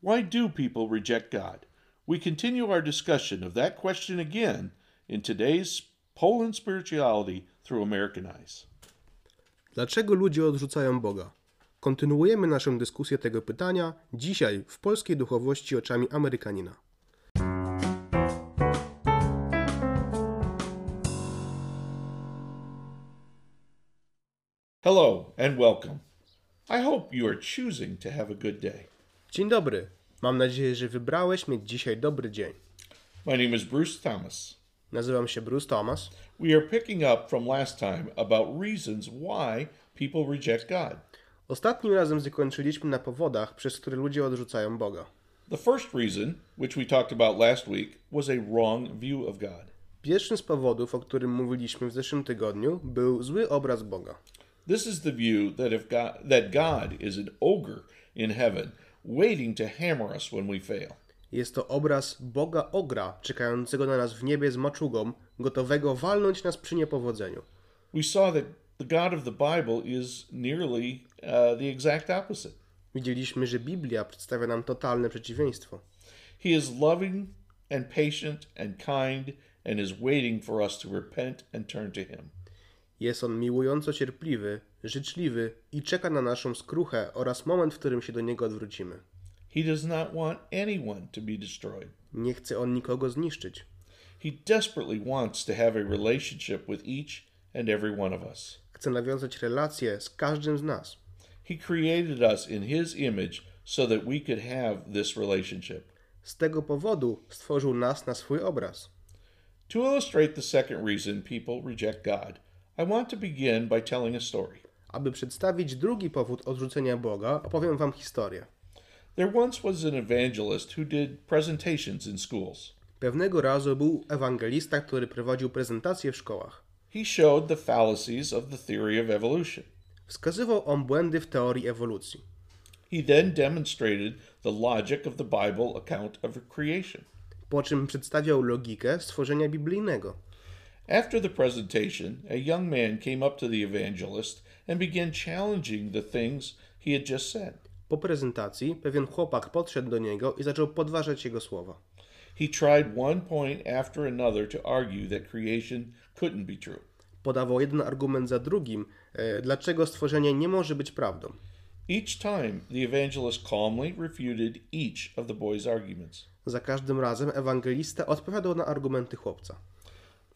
Why do people reject God? We continue our discussion of that question again in today's Poland Spirituality Through American Eyes. Dlaczego ludzie odrzucają Boga? Kontynuujemy naszą dyskusję tego pytania dzisiaj w polskiej duchowości oczami Amerykanina. Hello and welcome. I hope you are choosing to have a good day. Dzień dobry. Mam nadzieję, że wybrałeś mieć dzisiaj dobry dzień. My name is Bruce Thomas. Nazywam się Bruce Thomas. We are picking up from last time about reasons why people reject God. Ostatnim razem zakończyliśmy na powodach, przez które ludzie odrzucają Boga. The first reason, which we talked about last week, was a wrong view of God. Pierwszym z powodów, o którym mówiliśmy w zeszłym tygodniu, był zły obraz Boga. This is the view that if God, that God is an ogre in heaven, waiting to hammer us when we fail. Jest to obraz Boga Ogra, czekającego na nas w niebie z maczugą, gotowego walnąć nas przy niepowodzeniu. We saw that the God of the Bible is nearly uh, the exact opposite. Widzieliśmy, że Biblia przedstawia nam totalne przeciwieństwo. He is loving and patient and kind and is waiting for us to repent and turn to Him. Jest on miłująco cierpliwy, życzliwy i czeka na naszą skruchę oraz moment, w którym się do niego odwrócimy. He does not want anyone to be destroyed. Nie chce on nikogo zniszczyć. He desperately wants to have a relationship with each and every one of us. Chce nawiązać relacje z każdym z nas. He created us in His image so that we could have this relationship. Z tego powodu stworzył nas na swój obraz. To illustrate the second reason people reject God, I want to begin by telling a story. Aby przedstawić drugi powód odrzucenia Boga, opowiem wam historię. There once was an evangelist who did presentations in schools. Pewnego razu był ewangelista, który prowadził prezentacje w szkołach. He showed the fallacies of the theory of evolution. Wskazywał on błędy w teorii ewolucji. He then demonstrated the logic of the Bible account of creation. Po czym przedstawiał logikę stworzenia biblijnego. After the presentation, a young man came up to the evangelist and began challenging the things he had just said. Po prezentacji pewien chłopak podszedł do niego i zaczął podważać jego słowa. He tried one point after another to argue that creation couldn't be true. Podawał jeden argument za drugim, e, dlaczego stworzenie nie może być prawdą. Each time, the evangelist calmly refuted each of the boy's arguments. Za każdym razem ewangelista odpowiadał na argumenty chłopca.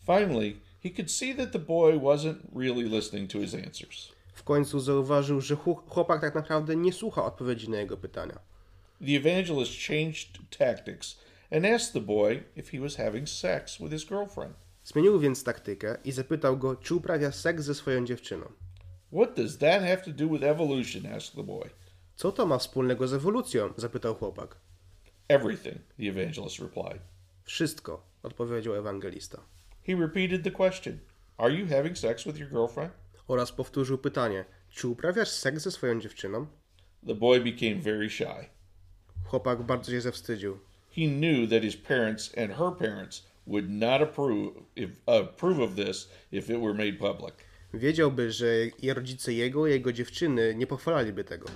Finally, he could see that the boy wasn't really listening to his answers. W końcu zauważył, że chłop- chłopak tak naprawdę nie słucha odpowiedzi na jego pytania. The evangelist changed tactics and asked the boy if he was having sex with his girlfriend. Zmienił więc taktykę i zapytał go, czy uprawia seks ze swoją dziewczyną. What does that have to do with evolution? asked the boy. Co to ma wspólnego z ewolucją? zapytał chłopak. Everything, the evangelist replied. Wszystko, odpowiedział ewangelista. He repeated the question Are you having sex with your girlfriend? Oraz powtórzył pytanie, czy uprawiasz seks ze swoją dziewczyną? The boy became very shy. Chłopak bardzo się zawstydził. He knew that his parents and her parents would not approve, if, approve of this if it were made public. Wiedziałby, że je- rodzice jego, jego dziewczyny nie pochwalaliby tego.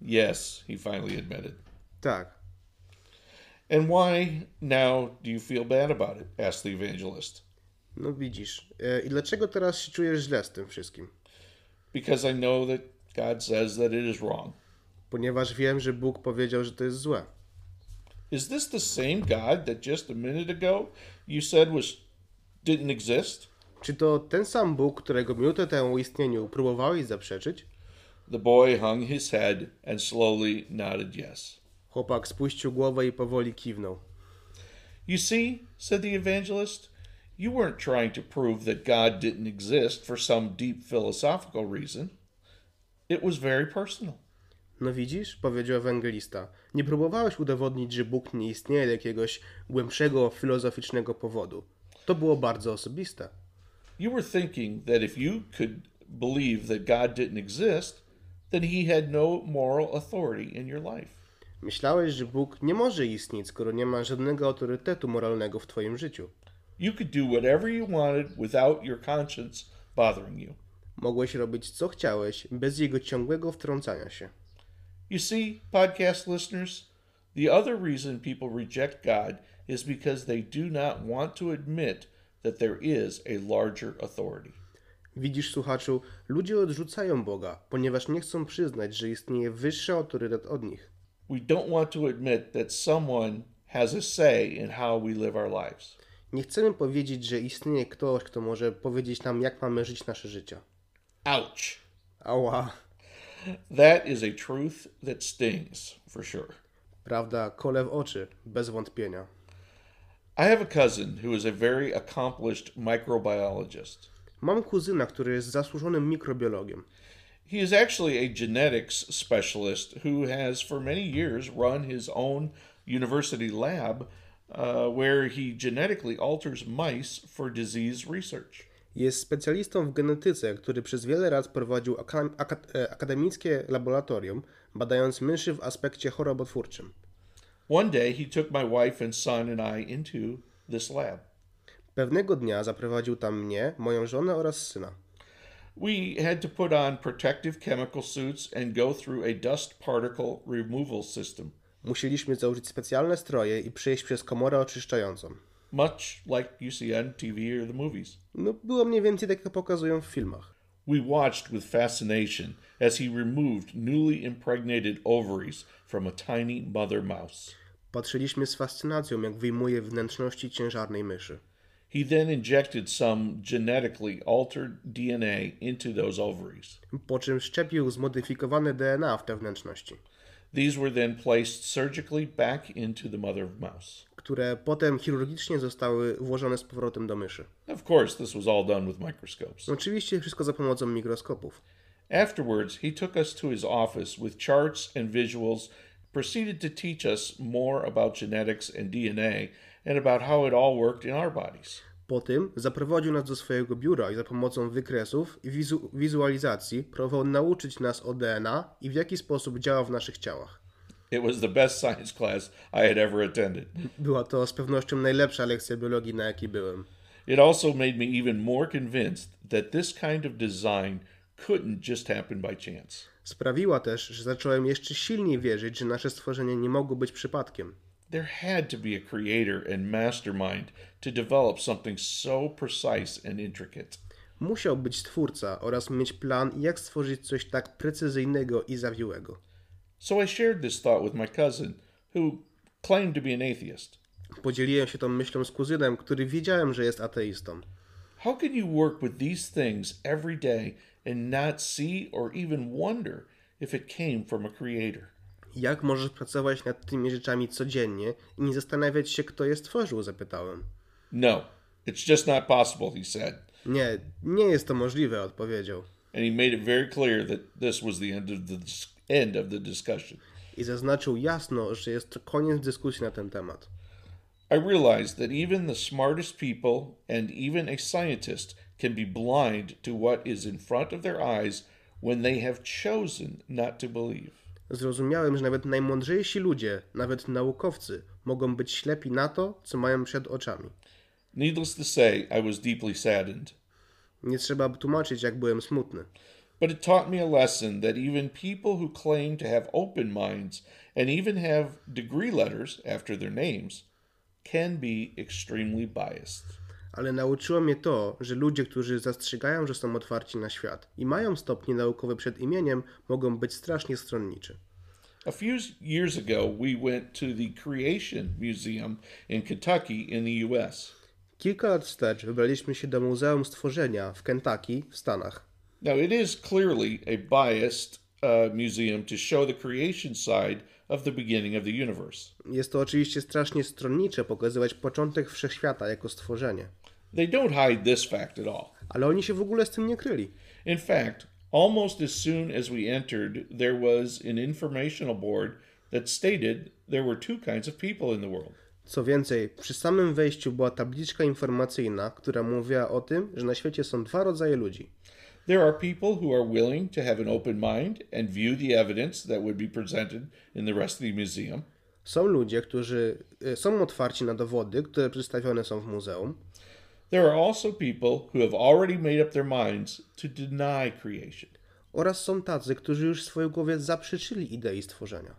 Yes, he finally admitted. Tak. And why now do you feel bad about it? asked the evangelist. No widzisz. E, I dlaczego teraz się czujesz źle z tym wszystkim? Because I know that God says that it is wrong. Ponieważ wiem, że Bóg powiedział, że to jest złe. Is this the same God that just a minute ago you said was didn't exist? Czy to ten sam Bóg, którego minutę temu istnieniu próbowałeś zaprzeczyć? The boy hung his head and slowly nodded yes. Chłopak spuścił głowę i powoli kiwnął. You see, said the evangelist, you weren't trying to prove that God didn't exist for some deep philosophical reason. It was very personal. No widzisz, powiedział ewangelista, nie próbowałeś udowodnić, że Bóg nie istnieje z jakiegoś głębszego filozoficznego powodu. To było bardzo osobiste. You were thinking that if you could believe that God didn't exist, then he had no moral authority in your life. Myślałeś, że Bóg nie może istnieć, skoro nie ma żadnego autorytetu moralnego w twoim życiu. You could do whatever you wanted without your conscience bothering you. Mogłeś robić co chciałeś, bez jego ciągłego wtrącania się. You see, podcast listeners, The other reason people reject God is because they do not want to admit that there is a larger authority. Widzisz, słuchaczu, ludzie odrzucają Boga, ponieważ nie chcą przyznać, że istnieje wyższy autorytet od nich. We don't want to admit that someone has a say in how we live our lives. Nie chcemy powiedzieć, że istnieje ktoś, kto może powiedzieć nam, jak mamy żyć nasze życia. Ouch! Ała, That is a truth that stings, for sure. prawda, kole w oczy, bez wątpienia. I have a cousin who is a very accomplished microbiologist. Mam kuzyna, który jest zasłużonym mikrobiologiem. He is actually a genetics specialist who has, for many years, run his own university lab uh, where he genetically alters mice for disease research. Jest specjalistą w genetyce, który przez wiele lat prowadził aka- aka- e, akademickie laboratorium, badając myszy w aspekcie chorobotwórczym. One day, he took my wife and son and I into this lab. Pewnego dnia zaprowadził tam mnie, moją żonę oraz syna. We had to put on protective chemical suits and go through a dust particle removal system, Musieliśmy założyć specjalne stroje i przejść przez komorę oczyszczającą. much like you see on TV or the movies. No, było mniej więcej tak, jak pokazują w filmach. We watched with fascination as he removed newly impregnated ovaries from a tiny mother mouse. Patrzyliśmy z fascynacją, jak wyjmuje wnętrzności ciężarnej myszy. He then injected some genetically altered DNA into those ovaries. Po czym szczepił zmodyfikowane DNA w te wnętrzności, These were then placed surgically back into the mother mouse. które potem chirurgicznie zostały włożone z powrotem do myszy. Of course, this was all done with microscopes. Oczywiście wszystko za pomocą mikroskopów. Afterwards, he took us to his office with charts and visuals, proceeded to teach us more about genetics and DNA and about how it all worked in our bodies. Po tym zaprowadził nas do swojego biura i za pomocą wykresów i wizu- wizualizacji próbował nauczyć nas o DNA i w jaki sposób działa w naszych ciałach. It was the best science class I had ever attended. Była to z pewnością najlepsza lekcja biologii, na jakiej byłem. It also made me even more convinced that this kind of design couldn't just happen by chance. Sprawiła też, że zacząłem jeszcze silniej wierzyć, że nasze stworzenie nie mogło być przypadkiem. There had to be a creator and mastermind to develop something so precise and intricate. Musiał być twórca oraz mieć plan, jak stworzyć coś tak precyzyjnego i zawiłego. So I shared this thought with my cousin, who claimed to be an atheist. Podzieliłem się tą myślą z kuzynem, który wiedziałem, że jest ateistą. How can you work with these things every day and not see or even wonder if it came from a creator? Jak możesz pracować nad tymi rzeczami codziennie i nie zastanawiać się, kto je stworzył? Zapytałem. No, it's just not possible, he said. Nie, nie jest to możliwe, odpowiedział. and he made it very clear that this was the end of the dis- end of the discussion. I zaznaczył jasno, że jest to koniec dyskusji na ten temat. I realized that even the smartest people and even a scientist can be blind to what is in front of their eyes when they have chosen not to believe. Zrozumiałem, że nawet najmądrzejsi ludzie, nawet naukowcy, mogą być ślepi na to, co mają przed oczami. Needless to say, I was deeply saddened, Nie trzeba tłumaczyć, jak byłem smutny. but it taught me a lesson that even people who claim to have open minds and even have degree letters after their names can be extremely biased. Ale nauczyło mnie to, że ludzie, którzy zastrzegają, że są otwarci na świat i mają stopnie naukowe przed imieniem, mogą być strasznie stronniczy. A few years ago, we went to the Creation Museum in Kentucky in the U.S. Kilka lat wstecz wybraliśmy się do Muzeum Stworzenia w Kentucky w Stanach. Now, it is clearly a biased uh, museum to show the creation side of the beginning of the universe. Jest to oczywiście strasznie stronnicze pokazywać początek wszechświata jako stworzenie. They don't hide this fact at all. Ale oni się w ogóle z tym nie kryli. In fact, almost as soon as we entered, there was an informational board that stated there were two kinds of people in the world Co więcej, przy samym wejściu była tabliczka informacyjna, która mówiła o tym, że na świecie są dwa rodzaje ludzi. there are people who are willing to have an open mind and view the evidence that would be presented in the rest of the museum. Są ludzie, którzy y, są otwarci na dowody, które przedstawione są w muzeum, There are also people who have already made up their minds to deny creation. oraz są tacy, którzy już w swojej głowie zaprzeczyli idei stworzenia.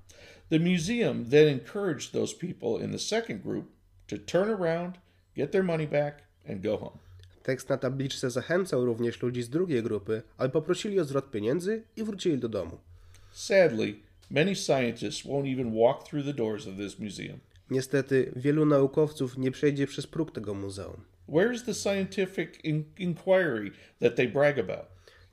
The museum then encouraged those people in the second group to turn around, get their money back, and go home. Tekst na tabliczce zachęcał również ludzi z drugiej grupy, ale poprosili o zwrot pieniędzy i wrócili do domu. Sadly, many scientists won't even walk through the doors of this museum. Niestety, wielu naukowców nie przejdzie przez próg tego muzeum. Where's the scientific in- inquiry that they brag about?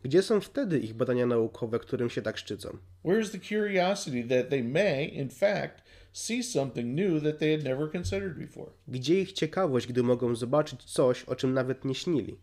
Gdzie są wtedy ich badania naukowe, którym się tak szczycą? Where's the curiosity that they may, in fact, see something new that they had never considered before? Gdzie ich ciekawość, gdy mogą zobaczyć coś, o czym nawet nie śnili?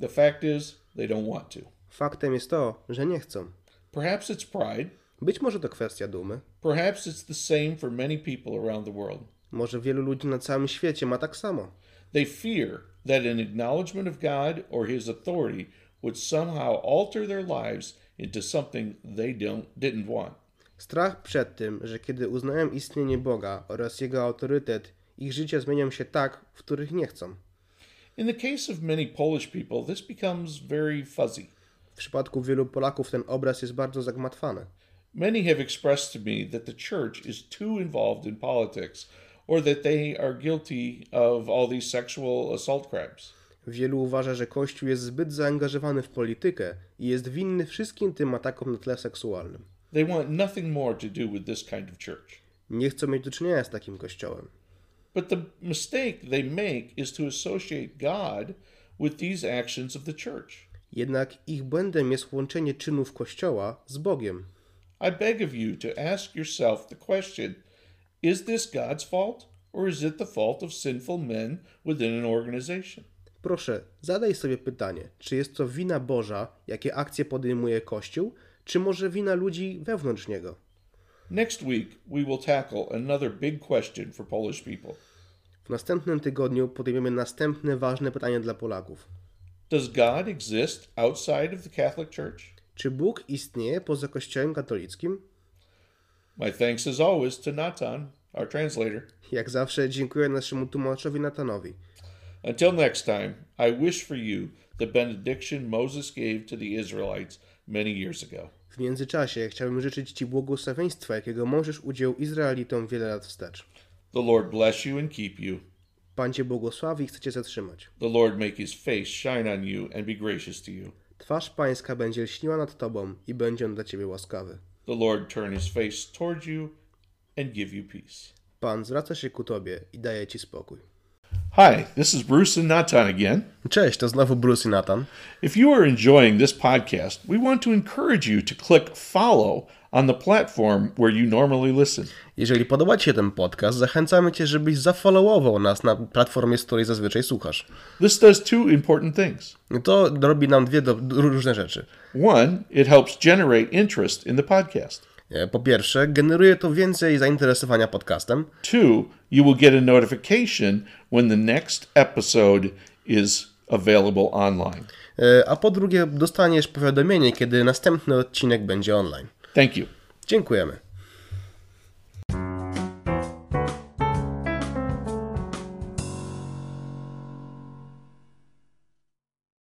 The fact is, they don't want to. Faktem jest to, że nie chcą. Perhaps it's pride. Być może to kwestia dumy. Perhaps it's the same for many people around the world. Może wielu ludzi na całym świecie ma tak samo. They fear that an acknowledgement of God or His authority would somehow alter their lives into something they don't didn't want. Strach przed tym, że kiedy uznają istnienie Boga oraz Jego autorytet, ich życia zmienią się tak, w których nie chcą. In the case of many Polish people, this becomes very fuzzy. W przypadku wielu Polaków ten obraz jest bardzo zagmatwany. Many have expressed to me that the church is too involved in politics or that they are guilty of all these sexual assault crimes. Wielu uważa, że Kościół jest zbyt zaangażowany w politykę i jest winny wszystkim tym atakom na tle seksualnym. They want nothing more to do with this kind of church. Nie chcą mieć do czynienia z takim Kościołem. But the mistake they make is to associate God with these actions of the church. Jednak ich błędem jest łączenie czynów Kościoła z Bogiem. I beg of you to ask yourself the question is this God's fault or is it the fault of sinful men within an organization? Proszę, zadaj sobie pytanie, czy jest to wina Boża, jakie akcje podejmuje Kościół, czy może wina ludzi wewnątrz niego? Next week, we will tackle another big question for Polish people W następnym tygodniu podejmiemy następne ważne pytanie dla Polaków. Does God exist outside of the Catholic Church? Czy Bóg istnieje poza Kościołem katolickim? My thanks, as always, to Natan, our translator. Jak zawsze dziękuję naszemu tłumaczowi Natanowi. Until next time, I wish for you the benediction Moses gave to the Israelites many years ago. W międzyczasie chciałbym życzyć Ci błogosławieństwa, jakiego możesz udział Izraelitom wiele lat wstecz. The Lord bless you and keep you. Pan Cię błogosławi i chce Cię zatrzymać. The Lord make his face shine on you and be gracious to you. Twarz Pańska będzie lśniła nad Tobą i będzie on dla Ciebie łaskawy. The Lord turn his face toward you and give you peace. Pan zwraca się ku Tobie i daje Ci spokój. Hi, this is Bruce and Natan again. Cześć, to znowu Bruce i Nathan. If you are enjoying this podcast, we want to encourage you to click follow on the platform where you normally listen. Jeżeli podoba Ci się ten podcast, zachęcamy Cię, żebyś zafollowował nas na platformie, z której zazwyczaj słuchasz. This does two important things. To robi nam dwie do, różne rzeczy. One, it helps generate interest in the podcast. E, Po pierwsze, generuje to więcej zainteresowania podcastem. Two, you will get a notification when the next episode is available online. E, A po drugie, dostaniesz powiadomienie, kiedy następny odcinek będzie online. Thank you. Dziękujemy.